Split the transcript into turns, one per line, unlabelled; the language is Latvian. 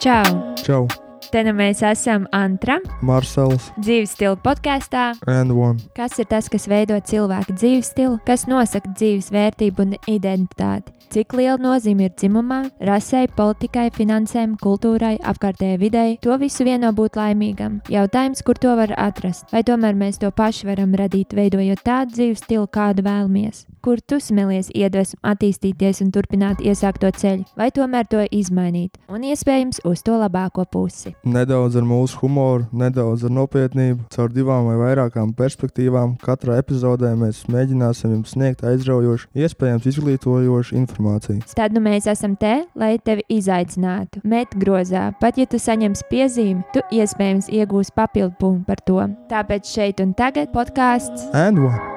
Čau!
Čau,
Te nu mēs esam Antra
Marcels
dzīves stila podkāstā.
and one.
Kas ir tas, kas veido cilvēku dzīves stilu, kas nosaka dzīves vērtību un identitāti? Cik liela nozīme ir dzimumam, rasei, politikai, finansēm, kultūrai, apkārtējai videi? To visu vieno būt laimīgam. Jautājums, kur to var atrast? Vai tomēr mēs to paši varam radīt, veidojot tādu dzīves stilu, kādu vēlamies? Kur tu smelies iedvesmu, attīstīties un turpināt iesākto ceļu, vai tomēr to izmainīt un iespējams uz to labāko pusi?
Nedaudz ar mūsu humoru, nedaudz ar nopietnību, caur divām vai vairākām perspektīvām. Katrā epizodē mēs mēģināsim jums sniegt aizraujošu, iespējams izglītojošu informāciju.
Tad nu mēs esam te, lai tevi izaicinātu, met grozā. Pat ja tu saņemsi piezīmi, tu iespējams iegūsi papildu punktu par to. Tāpēc šeit un tagad podkāsts
And one.